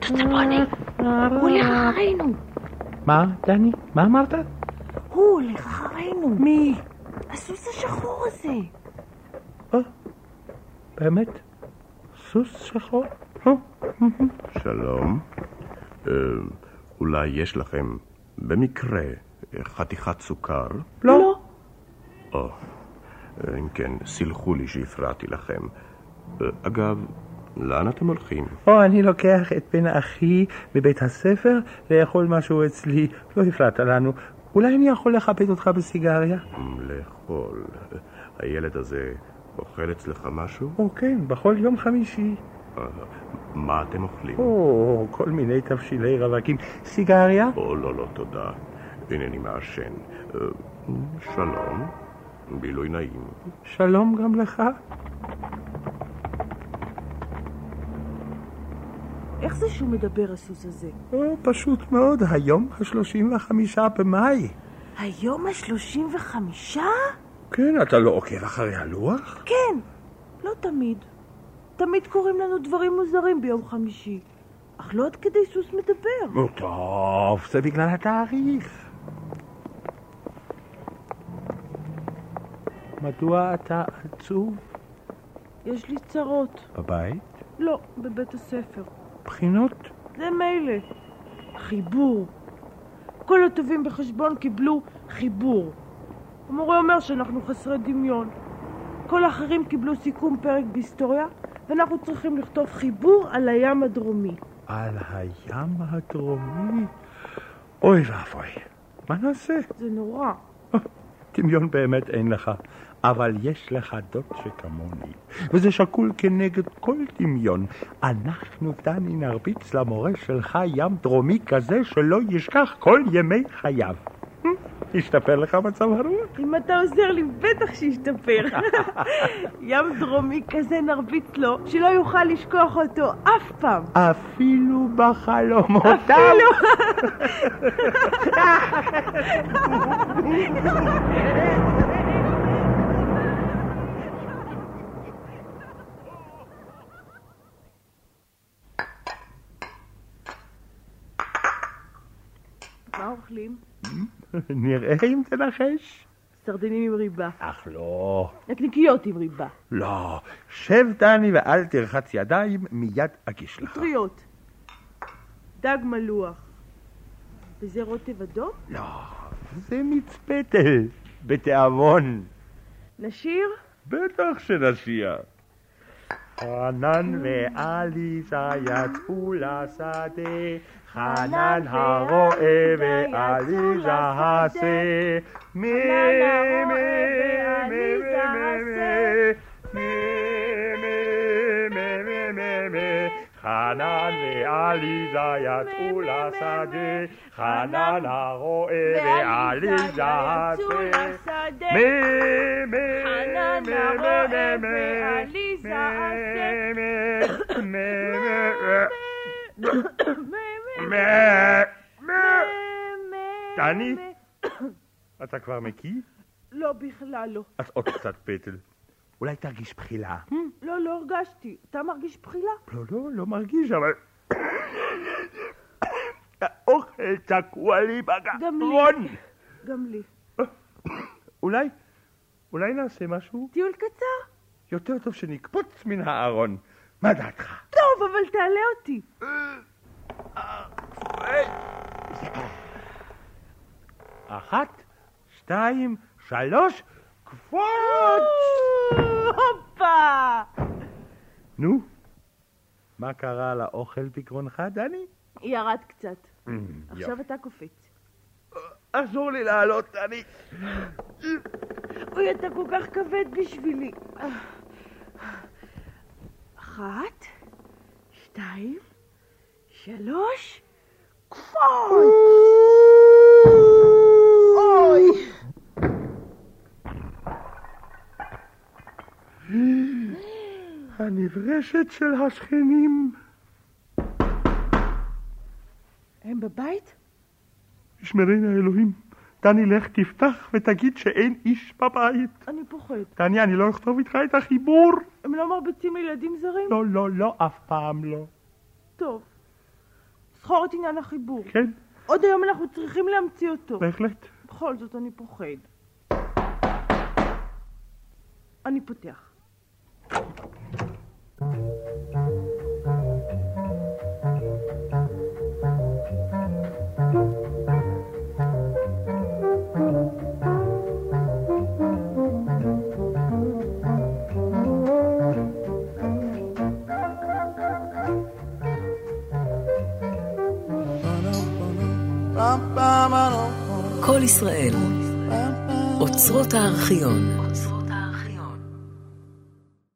טוטלבוני, הוא הולך אחרינו. מה, דני? מה אמרת? הוא הולך אחרינו. מי? הסוס השחור הזה. באמת? סוס שחור? שלום. אה, אולי יש לכם במקרה אה, חתיכת סוכר? לא. או, אה, אם כן, סלחו לי שהפרעתי לכם. אה, אגב, לאן אתם הולכים? או, אני לוקח את בן אחי מבית הספר לאכול משהו אצלי. לא הפרעת לנו. אולי אני יכול לכבד אותך בסיגריה? מ, אמ, לאכול. אה, הילד הזה אוכל אצלך משהו? או, כן, בכל יום חמישי. אה, מה אתם אוכלים? או, כל מיני תבשילי רווקים. סיגריה? או, לא, לא, תודה. אינני מעשן. אה, שלום. בילוי נעים. שלום גם לך. איך זה שהוא מדבר, הסוס הזה? או, פשוט מאוד, היום ה-35 במאי. היום השלושים וחמישה? כן, אתה לא עוקב אחרי הלוח? כן, לא תמיד. תמיד קורים לנו דברים מוזרים ביום חמישי. אך לא עד כדי סוס מדבר. נו, טוב, זה בגלל התאריך. מדוע אתה עצוב? יש לי צרות. בבית? לא, בבית הספר. בחינות? זה מילא. חיבור. כל הטובים בחשבון קיבלו חיבור. המורה אומר שאנחנו חסרי דמיון. כל האחרים קיבלו סיכום פרק בהיסטוריה, ואנחנו צריכים לכתוב חיבור על הים הדרומי. על הים הדרומי? אוי ואבוי, מה נעשה? זה נורא. דמיון באמת אין לך, אבל יש לך דוד שכמוני, וזה שקול כנגד כל דמיון. אנחנו, דני, נרביץ למורה שלך ים דרומי כזה שלא ישכח כל ימי חייו. hm? השתפר לך מצב הרוח? אם אתה עוזר לי, בטח שישתפר. ים דרומי כזה נרביץ לו, שלא יוכל לשכוח אותו אף פעם. אפילו בחלומות. אפילו. מה אוכלים? נראה אם תנחש. סרדינים עם ריבה. אך לא. נקניקיות עם ריבה. לא. שב, דני, ואל תרחץ ידיים, מיד אגיש לך. פטריות. דג מלוח. וזה רוטב אדום? לא, זה מצפתל, בתיאבון. נשיר? בטח שנשיע. חנן ועליזה יצאו לשדה, חנן הרועה ועליזה השה. מי מי מי מי מי מי מי מי מי מי חנן ועליזה יצאו לשדה, חנן הרועה ועליזה השה. לשדה. מי, מי, חנן מי, הרועה מי, מי, ועליזה מי, השה. מי, מי, מי, מי, מי. דני? אתה כבר מקיא? לא, בכלל לא. אז עוד קצת פטל. אולי תרגיש בחילה. לא, לא הרגשתי. אתה מרגיש בחילה? לא, לא, לא מרגיש, אבל... האוכל תקוע לי גם בגרון. לי. גם לי. אולי, אולי נעשה משהו טיול קצר? יותר טוב שנקפוץ מן הארון. מה דעתך? טוב, אבל תעלה אותי. אחת, שתיים, שלוש, קפוץ! הופה! נו, מה קרה לאוכל בגרונך, דני? ירד קצת. Mm, עכשיו אתה קופץ. אסור לי לעלות, אני... אוי, אתה כל כך כבד בשבילי. אחת, שתיים, שלוש, קפוץ! אוי! הנברשת של השכנים. הם בבית? שמרני האלוהים, דני, לך תפתח ותגיד שאין איש בבית. אני פוחד. דני, אני לא אכתוב איתך את החיבור. הם לא מרביצים לילדים זרים? לא, לא, לא, אף פעם לא. טוב. זכור את עניין החיבור. כן, עוד היום אנחנו צריכים להמציא אותו. בהחלט. בכל זאת אני פוחד. אני פותח. כל ישראל, אוצרות הארכיון.